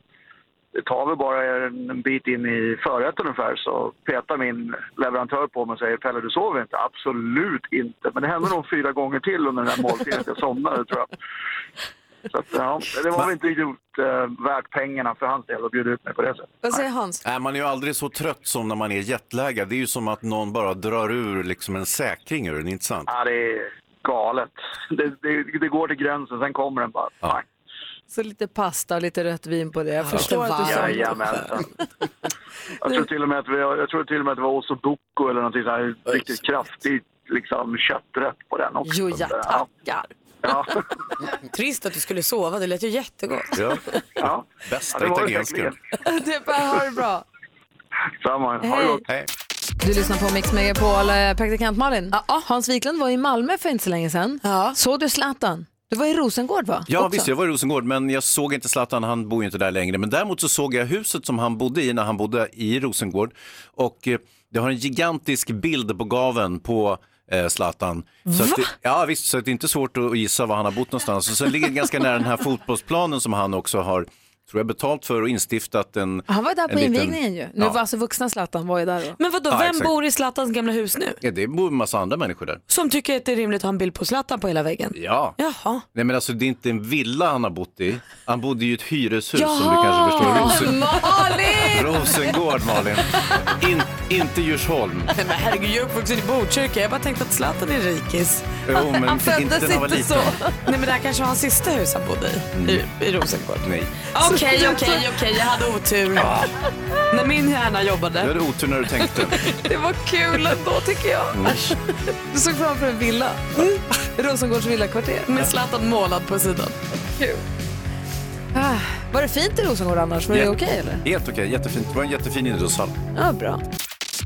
det tar väl bara en en bit in i förrätten ungefär så petar min leverantör på mig och säger Pelle du sover inte? Absolut inte. Men det hände nog fyra gånger till under den här måltiden att jag somnade tror jag. Så att, ja, det var väl inte gjort eh, värt pengarna för hans del att bjuda ut mig på det sättet.
Vad säger Hans?
Nej, man är ju aldrig så trött som när man är jetlaggad. Det är ju som att någon bara drar ur liksom en säkring ur den, inte sant?
Ja, det är galet. Det, det, det går till gränsen, sen kommer den bara. Ja.
Så lite pasta och lite rött vin på det. Jag förstår att du somnade.
Jajamensan. alltså, Jag tror till och med att, vi, jag tror till och med att det var ossobuco eller någonting så här riktigt kraftigt liksom, kötträtt på den också.
Jo, ja,
tackar. Ja,
Trist att du skulle sova, det lät ju jättegott.
ja.
ja.
Bästa
Ja, det var det
italienska.
Du Per, ha det bra.
Samma.
Hej.
Hej.
Du lyssnar på Mix Megapol, eh, praktikant Malin. Hans Wiklund var i Malmö för inte så länge sedan. Såg du Zlatan? Du var i Rosengård va?
Ja,
Också?
visst, jag var i Rosengård, men jag såg inte Zlatan, han bor ju inte där längre. Men däremot så såg jag huset som han bodde i när han bodde i Rosengård. Och eh, det har en gigantisk bild på gaven på eh, Zlatan. Så att det, ja, visst, så att det är inte svårt att gissa var han har bott någonstans. Och sen ligger det ganska nära den här fotbollsplanen som han också har, tror jag, betalt för och instiftat en
Han var där
en
på
liten-
invigningen ju. Nu
Ja.
var alltså vuxna Zlatan var ju där då.
Men vadå,
Ja,
vem
exakt.
bor i Zlatans gamla hus nu?
Ja, det bor en massa andra människor där.
Som tycker att det är rimligt att ha en bild på Zlatan på hela väggen?
Ja.
Jaha.
Nej men alltså det är inte en villa han har bott i. Han bodde i ett hyreshus som du
Jaha.
kanske förstår. Rosen...
Malin!
Rosengård Malin. In, inte Djursholm.
Nej, Men herregud, jag är uppvuxen i Botkyrka. Jag bara tänkte att Zlatan är rikis.
Jo, men Han föddes inte när han var inte liten. så.
Nej, men det här kanske var hans sista hus han bodde i. I, i Rosengård.
Nej.
Okej, okej, okej. Jag hade otur. När min hjärna
Du
jobbade.
hade otur när du tänkte. Mm.
Det var kul ändå tycker jag. Du såg framför en villa. Rosengårds villakvarter.
Mm. Med Zlatan målad på sidan.
Kul. Ah, var det fint i Rosengård annars? Var det
Jä-
okej eller?
Helt okej, jättefint. Det var en jättefin idrottshall.
Ja, bra.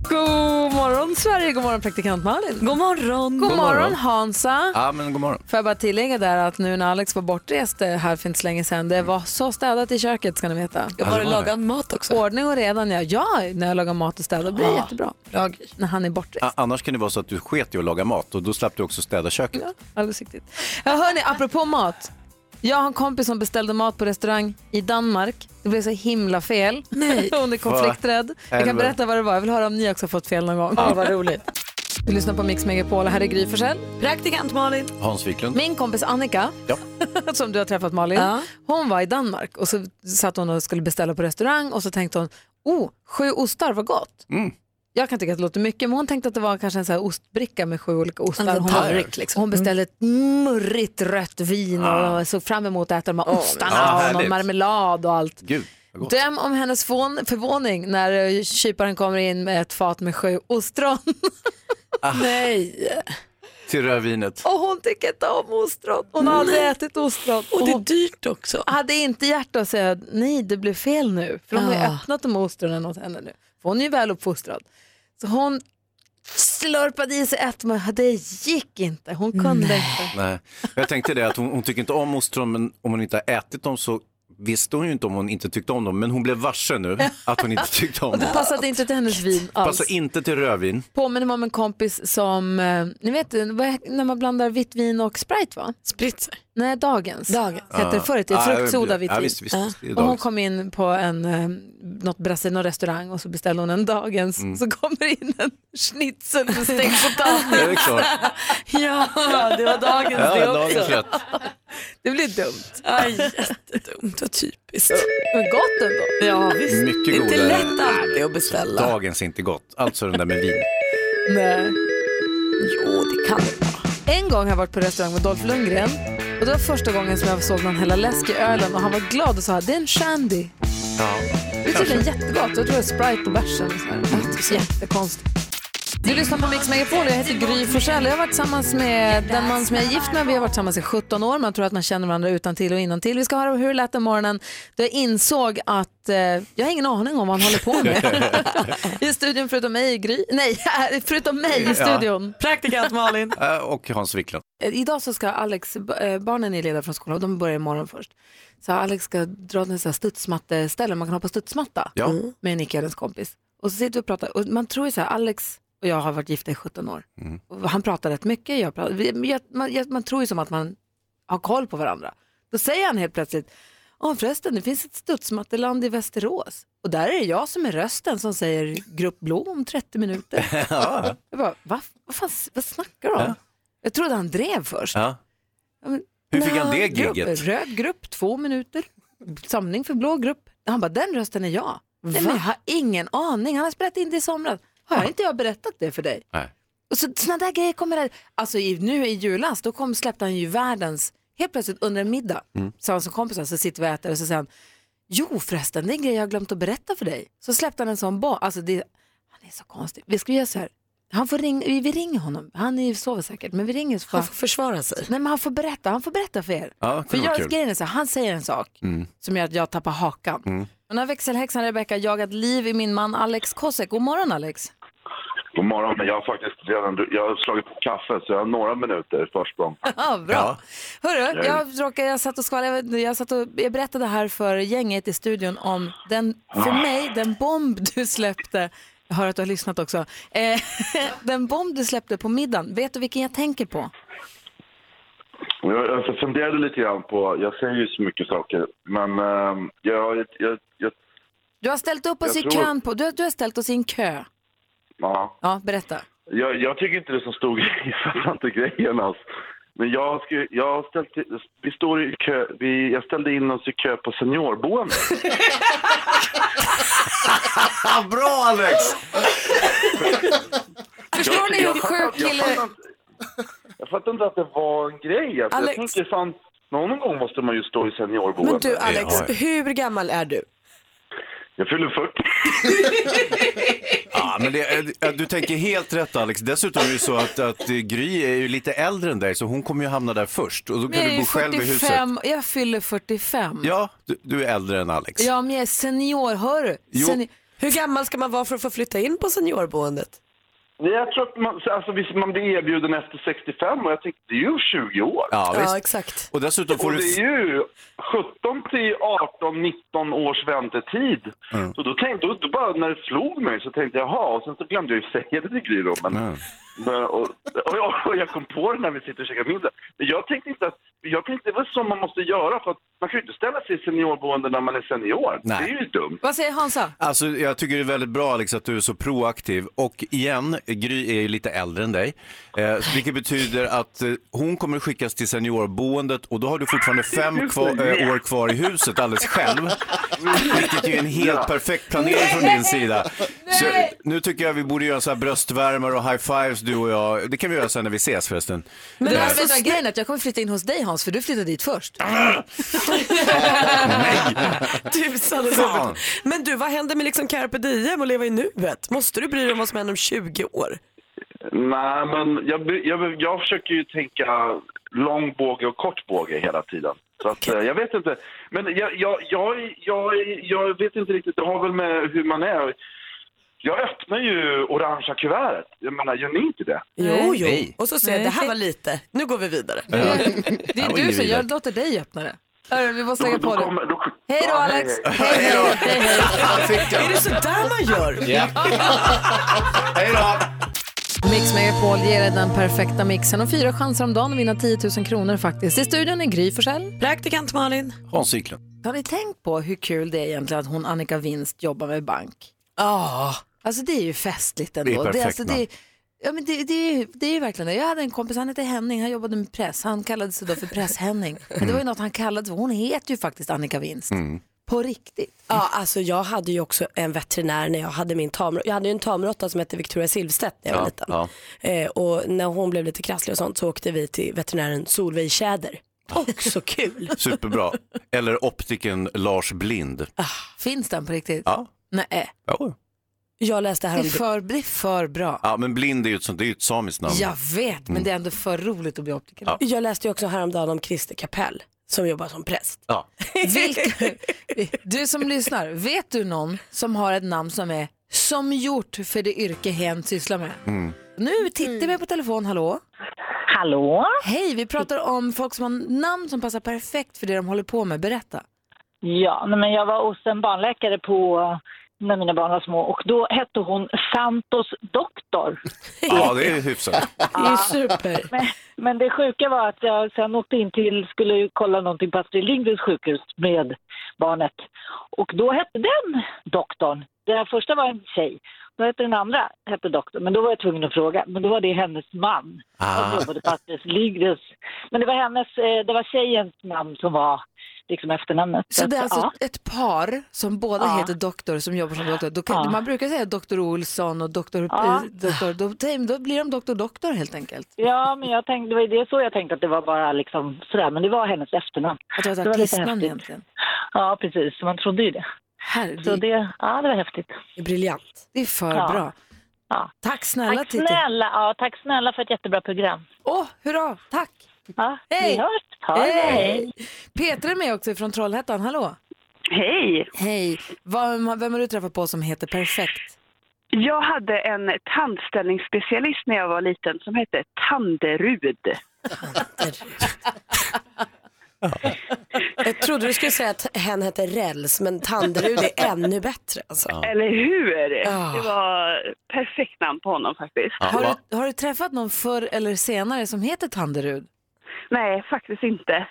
God morgon Sverige, god morgon praktikant Malin. God morgon. God
God morgon.
morgon Hansa.
Ja men god morgon.
Får jag bara tillägga där att nu när Alex var bortrest eh, här för inte så länge sedan, det var så städat i köket ska ni veta.
Jag
Mm. Ja,
har
det
lagat mat också.
Ordning och redan, ja. ja när jag lagar mat och städar blir det
Ah.
jättebra. När han är borta.
A- annars kan det vara så att du sket i att laga mat och då slapp du också städa köket.
Alldeles riktigt. Ja, hörni, apropå mat. Jag har en kompis som beställde mat på restaurang i Danmark. Det blev så himla fel. Nej. Hon är konflikträdd. Jag kan
Helvete.
berätta vad det var. Jag vill höra om ni också har fått fel någon gång.
Ja, vad
roligt. Du lyssnar på Mix Megapol. Här är Gry Forssell. Praktikant Malin.
Hans Wiklund.
Min kompis Annika, som du har träffat Malin, hon var i Danmark och så satt hon och skulle beställa på restaurang och så tänkte hon, oh, sju ostar, vad gott.
Mm.
Jag kan tycka att det låter mycket, men hon tänkte att det var kanske en så här ostbricka med sju olika ostar.
En
Hon,
tallrik, liksom.
hon beställde ett murrigt rött vin
Ah.
och såg fram emot att äta de här
Åh,
ostarna
men- Ah,
och någon
härligt.
marmelad och allt.
Gud, vad gott.
Döm om hennes fån- förvåning när eh, kyparen kommer in med ett fat med sju ostron.
Ah.
Nej.
Till rödvinet.
Och hon tycker inte om ostron. Hon har aldrig ätit ostron. Och det är
dyrt också.
Hade inte hjärta att säga nej det blev fel nu. För de har ju
Ah.
öppnat de ostronen åt henne nu. För hon är ju väl uppfostrad. Så hon slurpade i sig ett men det gick inte. Hon kunde inte.
Nej. Jag tänkte det att hon, hon tycker inte om ostron men om hon inte har ätit dem så visste hon ju inte om hon inte tyckte om dem, men hon blev varse nu att hon inte tyckte om
Och
dem.
det passade inte till hennes vin alls.
Passar inte till rödvin.
Påminner mig om en kompis som, eh, ni vet eh, vad he- när man blandar vitt vin och Sprite va?
Spritzer.
Nej, dagens. Dagens.
Ja.
Hette det förut, det
Ja,
är fruktsoda
ja,
vitt
Ah, ja,
vin.
visst, visst, visst, det är
Och hon
dagens.
kom in på en, eh, något Brasil, någon restaurang och så beställde hon en dagens.
Mm.
Så kommer in en schnitzel med stekt
Det
potatis.
är klart.
ja, det var dagens
Ja,
det också.
dagens rätt.
Det blir dumt.
Aj, jättedumt och typiskt.
Men gott ändå.
Ja,
Mycket
det är inte
godare.
lätt alltid att beställa.
Dagens är inte gott, alltså den där med vin.
Nej.
Jo, det kan det
En gång har jag varit på restaurang med Dolph Lundgren och det var första gången som jag såg någon hälla läsk i ölen och han var glad och sa det är en shandy.
Ja,
Det är tydligen jättegott. Jag tror det är Sprite på bärsen. och sådär. Jättekonstigt. Du lyssnar på Mix Megapol och jag heter Gry Forssell. Jag har varit tillsammans med den man som jag är gift med. Vi har varit tillsammans i 17 år. Man tror att man känner varandra utan till och innan till. Vi ska höra hur det lät den morgonen då jag insåg att eh, jag har ingen aning om vad han håller på med. I studion förutom mig, Gry. Nej, förutom mig i
Ja.
studion.
Praktikant Malin.
Eh, Och Hans Wiklund.
Eh, Idag så ska Alex, b- eh, barnen är lediga från skolan och de börjar imorgon först. Så Alex ska dra till en sån här studsmatteställe, man kan hoppa studsmatta
Ja.
med Nicky och hennes kompis. Och så sitter vi och pratar och man tror ju så här, Alex och jag har varit gifta i 17 år.
Mm.
Och han pratar rätt mycket, jag pratar, vi- men jag, man, jag, man tror ju som att man har koll på varandra. Då säger han helt plötsligt, Åh, förresten det finns ett studsmatteland i Västerås och där är det jag som är rösten som säger grupp blå om 30 minuter.
Ja.
Jag bara, Va? vad, fan, vad snackar du om?
Ja.
Jag trodde han drev först.
Äh? Ja.
Ja, men-
Hur fick han
Nej,
det
grupp,
gigget?
Röd grupp, två minuter. Samling för blå grupp. Han bara, den rösten är jag. Nej, men jag har ingen aning. Han har spelat in det i somras. Har inte jag berättat det för dig?
Nej.
Och så, såna där grejer kommer där. Alltså i, nu i julas, då kom, släppte han ju världens, helt plötsligt under en middag,
Mm.
sa han som kompisar, så sitter vi och äter och så säger han, jo förresten, det är en grej jag har glömt att berätta för dig. Så släppte han en sån boll. Alltså det, han är så konstig. Vi ska göra så här, han får ring, vi, vi ringer honom, han är ju sover säkert, men vi ringer så
Han får försvara sig.
Nej men han får berätta, han får berätta för er.
Ja, det
för
kunde vara
jag,
kul.
grejen är så här, han säger en sak
Mm.
som gör att jag tappar hakan.
Mm.
Och när växelhäxan Rebecca jagat liv i min man Alex Kosek. God morgon Alex.
God morgon, men jag har faktiskt redan jag har slagit på kaffe så jag har några minuter försprång.
Ja, Bra. Hörru,
Hej.
jag, råkade, jag satt och skvallrade, jag, satt och, jag berättade här för gänget i studion om den, för
Ah.
mig, den bomb du släppte, jag hör att du har lyssnat också, eh, den bomb du släppte på middagen, vet du vilken jag tänker på?
Och Jag, alltså, funderade lite grann på, jag säger ju så mycket saker, men eh, jag, jag, jag,
Du har ställt upp oss
Jag
i
tror-
kön på, du, du har ställt oss i en kö.
ja.
Ja, berätta.
jag, jag tycker inte det är så stor grej, jag fattar inte grejen alls. Men jag, skulle, jag, har ställt, vi står i kö, vi, jag ställde in oss i kö på seniorboende.
Bra Alex!
Förstår ni hur sjuk
jag
eller-
fattar inte- Jag fattar inte att det var en grej. Alltså,
Alex.
Jag tänkte fan, någon gång måste man ju stå i seniorboende.
Men du Alex, hur gammal är du?
Jag fyller 40.
Ja, men det, eh, du tänker helt rätt Alex. Dessutom är det ju så att, att eh, Gry är ju lite äldre än dig så hon kommer ju hamna där först och då
Men
kan
jag är
du
ju
bo själv i huset.
45, jag fyller 45.
Ja, du, du är äldre än Alex.
Ja, men jag är senior, hör du?
Jo.
Seni-
Hur gammal ska man vara för att få flytta in på seniorboendet?
Nej, Jag tror att man, alltså, visst, man blir erbjuden efter 65 och jag tänkte det är ju 20 år.
Ja, visst. Ja,
exakt.
Och dessutom får
och
du-
det är ju 17 till 18, 19 års väntetid.
Mm.
Så då tänkte jag, då bara när det slog mig så tänkte jag, jaha, och sen så glömde jag ju säga det till Gry då. Men,
Mm.
men, och, och, jag, och jag kom på det när vi sitter och käkar middag. Men jag tänkte inte att, jag tänkte det var så man måste göra för att man kan ju inte ställa sig i seniorboende när man är senior.
Nej.
Det är ju dumt.
Vad säger Hansa?
Alltså, jag tycker det är väldigt bra Alex att du är så proaktiv. Och igen, Gry är ju lite äldre än dig. Eh, vilket betyder att eh, hon kommer skickas till seniorboendet och då har du fortfarande fem kvar, eh, år kvar i huset alldeles själv. Vilket ju är en helt perfekt planering från din sida. Så, nu tycker jag vi borde göra så här bröstvärmar och high-fives du och jag. Det kan vi göra sen när vi ses förresten.
Men
Eh,
alltså, vet du vad grejen är att jag kommer flytta in hos dig Hans, för du flyttade dit först.
Ah.
Tusan och
Fan.
dubbelt. Men du, vad händer med liksom carpe diem och leva i nuet? Måste du bry dig om vad som händer om 20 år?
Nej, men jag, be- jag, be- jag försöker ju tänka lång båge och kort båge hela tiden. Så att, eh, jag vet inte. Men jag, jag, jag, jag, jag vet inte riktigt, det har väl med hur man är. Jag öppnar ju orangea kuvertet. Jag menar, gör ni inte det?
Jo, jo. Och så säger jag,
Nej.
det här var lite, nu går vi vidare.
Det är du som gör, låter dig öppna det. Hörru, vi måste lägga
Då,
på
då,
det.
kommer, då,
Hej då, Alex.
Hej då.
Är det så där man gör?
Ja. Hej då.
Mix Megapol ger dig den perfekta mixen och fyra chanser om dagen att vinna 10 000 kronor faktiskt. I studion är Gry Forssell.
Praktikant Malin.
Hans Wiklund.
Har ni tänkt på hur kul det är egentligen att hon, Annika Winst, jobbar med bank?
Ja.
Alltså det är ju festligt ändå.
Det är perfekt,
alltså,
man.
det, ja, men det, det, är ju- det är ju verkligen det. Jag hade en kompis, han hette Henning, han jobbade med press. Han kallade sig då för Press-Henning. Men det var ju något han kallade sig, hon heter ju faktiskt Annika Winst.
Mm.
På riktigt?
Ja, alltså jag hade ju också en veterinär när jag hade min tamråtta. Jag hade ju en tamråtta som hette Victoria Silvstedt när jag var liten. Eh, och när hon blev lite krasslig och sånt så åkte vi till veterinären Solveig Tjäder. Också kul.
Superbra. Eller optiken Lars Blind.
Finns den på riktigt?
Ja.
Nej.
Jo.
Jag läste
Det är för, det är för bra.
Ja, men Blind är ju ett, sånt, det är ju ett samiskt namn.
Jag vet, men det är ändå för roligt att bli optiker.
Ja.
Jag läste ju också häromdagen om Christer Kapell som jobbar som präst.
Ja.
Vilka, du som lyssnar, vet du någon som har ett namn som är som gjort för det yrke hen sysslar med?
Mm.
Nu tittar vi på telefon, hallå?
Hallå?
Hej, vi pratar om folk som har namn som passar perfekt för det de håller på med. Berätta.
Ja, nej, men jag var hos en barnläkare på eh, när mina barn var små och då hette hon Santos doktor.
Ja, det är hyfsat.
Det är super. Men, men det sjuka var att jag sen åkte in till, skulle ju kolla någonting på Astrid Lindgrens sjukhus med barnet. Och då hette den doktorn. Den här första var en tjej. Då hette den andra hette doktorn. Men då var jag tvungen att fråga. Men då var det hennes man som
Ah.
jobbade på Astrid Lindgrens. Men det var hennes, eh, det var tjejens namn som var liksom efternamnet.
Så det är
att,
alltså
ja.
ett par som båda
Ja.
heter doktor som jobbar som doktor. Då kan,
Ja.
Man brukar säga doktor Olsson och doktor...
Ja.
eh, doktor då, då blir de doktor doktor helt enkelt.
Ja, men jag tänkte, det var ju det så jag tänkte att det var bara liksom sådär, men det var hennes efternamn.
Att det var ett
lite
artistnamn
häftigt.
egentligen.
Ja, precis, så man trodde ju det. Så det, ja, det var häftigt.
Det är briljant.
Det är för
Ja.
bra.
Ja.
Tack snälla
tack
Titti.
snälla, ja, tack snälla för ett jättebra program.
Åh, hurra, tack!
Ja,
Hej!
vi hörs. Ha det.
Hej! Peter är med också från Trollhättan, hallå?
Hej!
Hej! Vem, vem har du träffat på som heter Perfekt?
Jag hade en tandställningsspecialist när jag var liten som hette Tanderud.
Jag trodde du skulle säga att hen hette Räls men Tanderud är ännu bättre. Alltså.
Eller hur?
Ah.
Ja.
Det var perfekt namn på honom faktiskt.
Har, du, har du träffat någon förr eller senare som heter Tanderud?
Nej, faktiskt inte.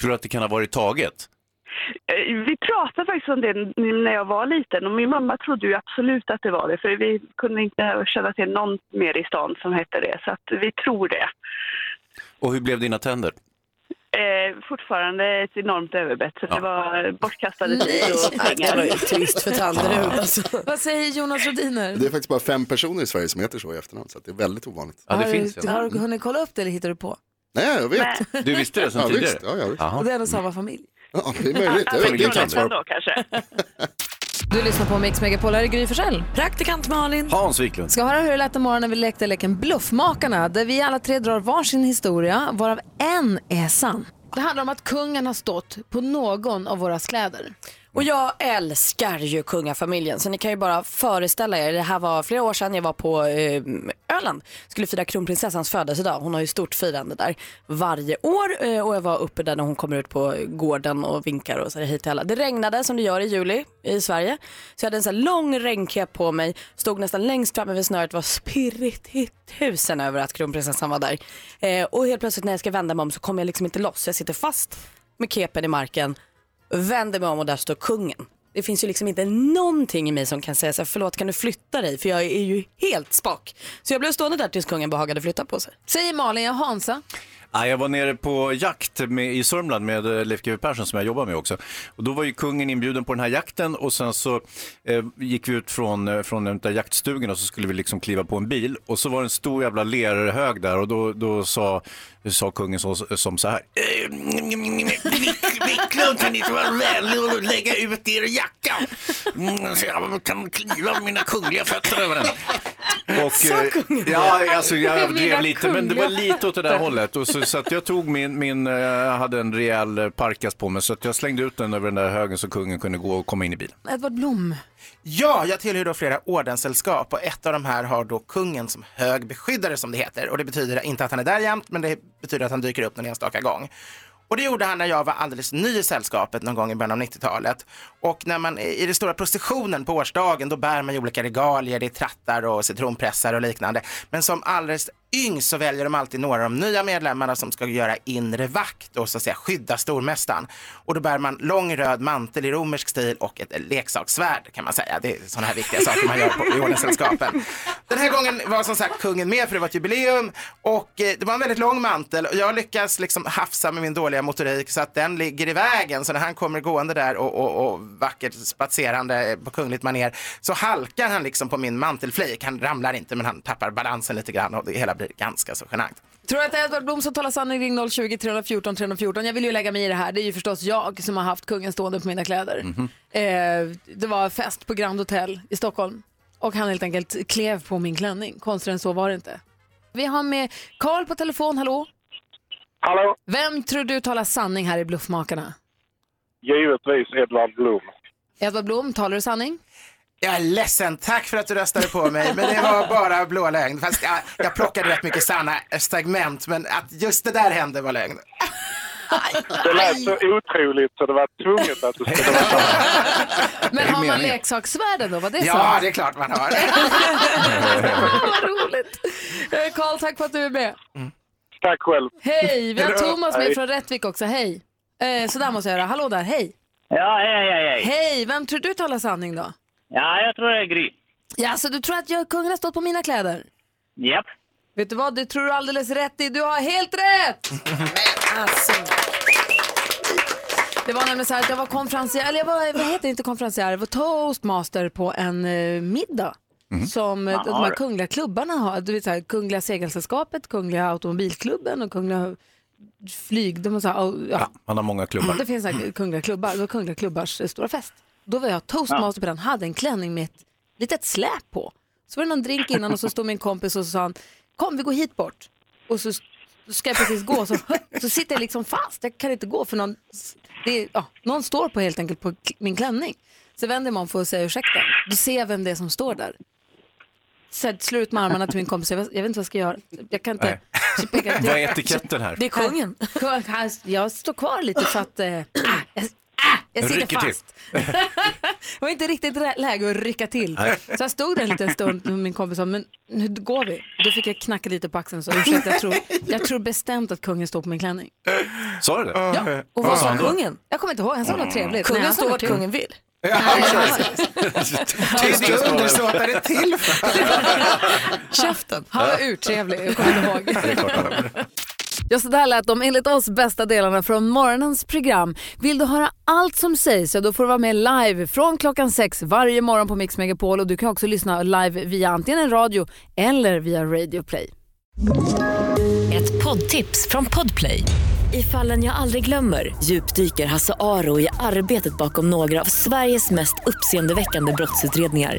Tror du att det kan ha varit taget?
Eh, Vi pratade faktiskt om det n- när jag var liten och min mamma trodde ju absolut att det var det för vi kunde inte känna till någon mer i stan som hette det så att vi tror det.
Och hur blev dina tänder?
Eh, fortfarande ett enormt överbett så det var bortkastade tid och
Nej, Mm. det var ju trist för Tanderud,
alltså. Vad säger Jonas Rodiner?
Det är faktiskt bara fem personer i Sverige som heter så i efternamn, så att det är väldigt ovanligt.
har, du, har du hunnit kolla upp det eller hittar du på?
Nej, jag
Nej.
vet.
Du visste det sedan
ja,
tidigare?
Visst. Ja, ja, visst.
Och det är nog samma familj.
Ja, det är möjligt. Jag
Från
vet, det kan jag inte
Trollhättan
svara
då kanske.
Du lyssnar på Mix Megapol, här är Gry Forssell.
Praktikant Malin.
Hans Wiklund.
Ska höra hur det lät imorgon när vi lekte leken Bluffmakarna där vi alla tre drar varsin historia varav en är sann. Det handlar om att kungen har stått på någon av våra kläder.
Och jag älskar ju kungafamiljen så ni kan ju bara föreställa er, det här var flera år sedan jag var på eh, Öland, skulle fira kronprinsessans födelsedag, hon har ju stort firande där varje år eh, och jag var uppe där när hon kommer ut på gården och vinkar och så här hit till alla. Det regnade som det gör i juli i Sverige så jag hade en så här lång regnkepp på mig, stod nästan längst framme vid snöret, var spirrigt i tusen över att kronprinsessan var där. Eh, och helt plötsligt när jag ska vända mig om så kommer jag liksom inte loss, jag sitter fast med kepen i marken vänder mig om och där står kungen. Det finns ju liksom inte någonting i mig som kan säga så här, förlåt kan du flytta dig för jag är ju helt spak. Så jag blev stående där tills kungen behagade flytta på sig.
Säger Malin, jag Hansa.
Ja, jag var nere på jakt med, i Sörmland med eh, Leif GW Persson som jag jobbar med också. Och då var ju kungen inbjuden på den här jakten och sen så eh, gick vi ut från, eh, från den där jaktstugan och så skulle vi liksom kliva på en bil och så var det en stor jävla lerhög där och då, då sa, sa kungen så, som så här.
Wiklund kan inte vara vänlig och lägga ut er jacka. Mm, så jag kan kliva mina kungliga fötter över den.
Och,
Sa
eh,
kungen det?
ja, alltså, jag
Mina
överdrev lite, men det var
kungliga
lite åt det där
fötter.
hållet. Och så, så att jag tog min, min eh, jag hade en rejäl eh, parkas på mig, så att jag slängde ut den över den där högen så kungen kunde gå och komma in i bilen.
Edvard Blom.
Ja, jag tillhör då flera ordenssällskap och ett av de här har då kungen som hög beskyddare som det heter. Och det betyder inte att han är där jämt, men det betyder att han dyker upp någon enstaka gång. Och det gjorde han när jag var alldeles ny i sällskapet någon gång i början av 90-talet. Och när man i den stora processionen på årsdagen då bär man ju olika regalier, det är trattar och citronpressar och liknande. Men som alldeles yngst så väljer de alltid några av de nya medlemmarna som ska göra inre vakt och så att säga skydda stormästaren. Och då bär man lång röd mantel i romersk stil och ett leksakssvärd kan man säga. Det är sådana här viktiga saker man gör på, i ordenssällskapen. Den här gången var som sagt kungen med för det var ett jubileum och eh, det var en väldigt lång mantel och jag lyckas liksom hafsa med min dåliga motorik så att den ligger i vägen så när han kommer gående där och, och, och vackert spatserande eh, på kungligt maner så halkar han liksom på min mantelflik. Han ramlar inte men han tappar balansen lite grann och det hela blir ganska så genant.
Tror du att det är Edvard Blom som talar sanning? Ring 020 314 314. Jag vill ju lägga mig i det här. Det är ju förstås jag som har haft kungen stående på mina kläder.
Mm.
Eh, det var fest på Grand Hotel i Stockholm och han helt enkelt klev på min klänning. Konstigare än så var det inte. Vi har med Karl på telefon, hallå?
Hallå?
Vem tror du talar sanning här i Bluffmakarna?
Givetvis Edvard Blom.
Edvard Blom, talar du sanning?
Jag är ledsen, tack för att du röstade på mig, men det var bara blå lögn. Fast jag, jag plockade rätt mycket sanna segment, men att just det där hände var lögn.
Det lät så otroligt så det var tvunget att du skulle vara
Men har man
meningen.
leksakssvärden då? Var det
Ja,
sant?
det är klart man har.
Vad roligt! Eh, Karl, tack för att du är med.
Tack själv.
Hej, vi har
Hej då.
Thomas med
Hej.
från Rättvik också. Hej. Eh, så där måste jag göra. Hallå där, hej.
Ja, hej, hej, hej.
Hej, vem tror du talar sanning då?
Ja, jag tror det är Gry.
Ja, så du tror att jag, kungen har stått på mina kläder?
Japp.
Vet du vad, det tror du alldeles rätt i. Du har helt rätt! Men alltså. Det var nämligen så här att jag var konferencier, eller jag var, vad heter det, inte konferencier, jag var toastmaster på en eh, middag. Som eh, de
Jaha,
här
du.
kungliga klubbarna har, du vet så här, Kungliga Segelsällskapet, Kungliga Automobilklubben och Kungliga Flyg, de har så här, au- ja,
Man har många klubbar.
det finns så här kungliga klubbar, det var kungliga klubbars eh, stora fest. Då var jag toastmaster på den, hade en klänning med ett litet släp på. Så var det någon drink innan och så stod min kompis och så sa han, kom vi går hit bort. Och så s- ska jag precis gå så, så sitter jag liksom fast, jag kan inte gå för någon, det är, ja, någon står på helt enkelt på k- min klänning. Så vänder man för att säga ursäkta, då ser jag vem det är som står där. Så jag slår ut med armarna till min kompis, jag vet jag vet inte vad jag ska göra. Jag kan inte... Så pekar jag till-
Vad är etiketten här?
kungen. Jag står kvar lite för att eh, jag, ah, jag sitter
Rycker till.
fast. Det var inte riktigt rä- läge att rycka till.
Nej.
Så jag stod där en liten stund med min kompis sa, men nu går vi. Då fick jag knacka lite på axeln och sa, ursäkta, jag tror, jag tror bestämt att kungen står på min klänning.
Sa du det?
Ja.
Och vad sa
han då? Mm.
kungen?
Jag kommer inte ihåg, han sa något trevligt.
Kungen
Nej, han sa
står
något
vart
trevligt.
kungen vill.
Det är undersåtare till
Käften. Han var urtrevlig, jag kommer inte ihåg. Ja, så där lät de enligt oss bästa delarna från morgonens program. Vill du höra allt som sägs så då får du vara med live från klockan sex varje morgon på Mix Megapol och du kan också lyssna live via antingen en radio eller via Radio Play.
Ett poddtips från Podplay. I fallen jag aldrig glömmer djupdyker Hasse Aro i arbetet bakom några av Sveriges mest uppseendeväckande brottsutredningar.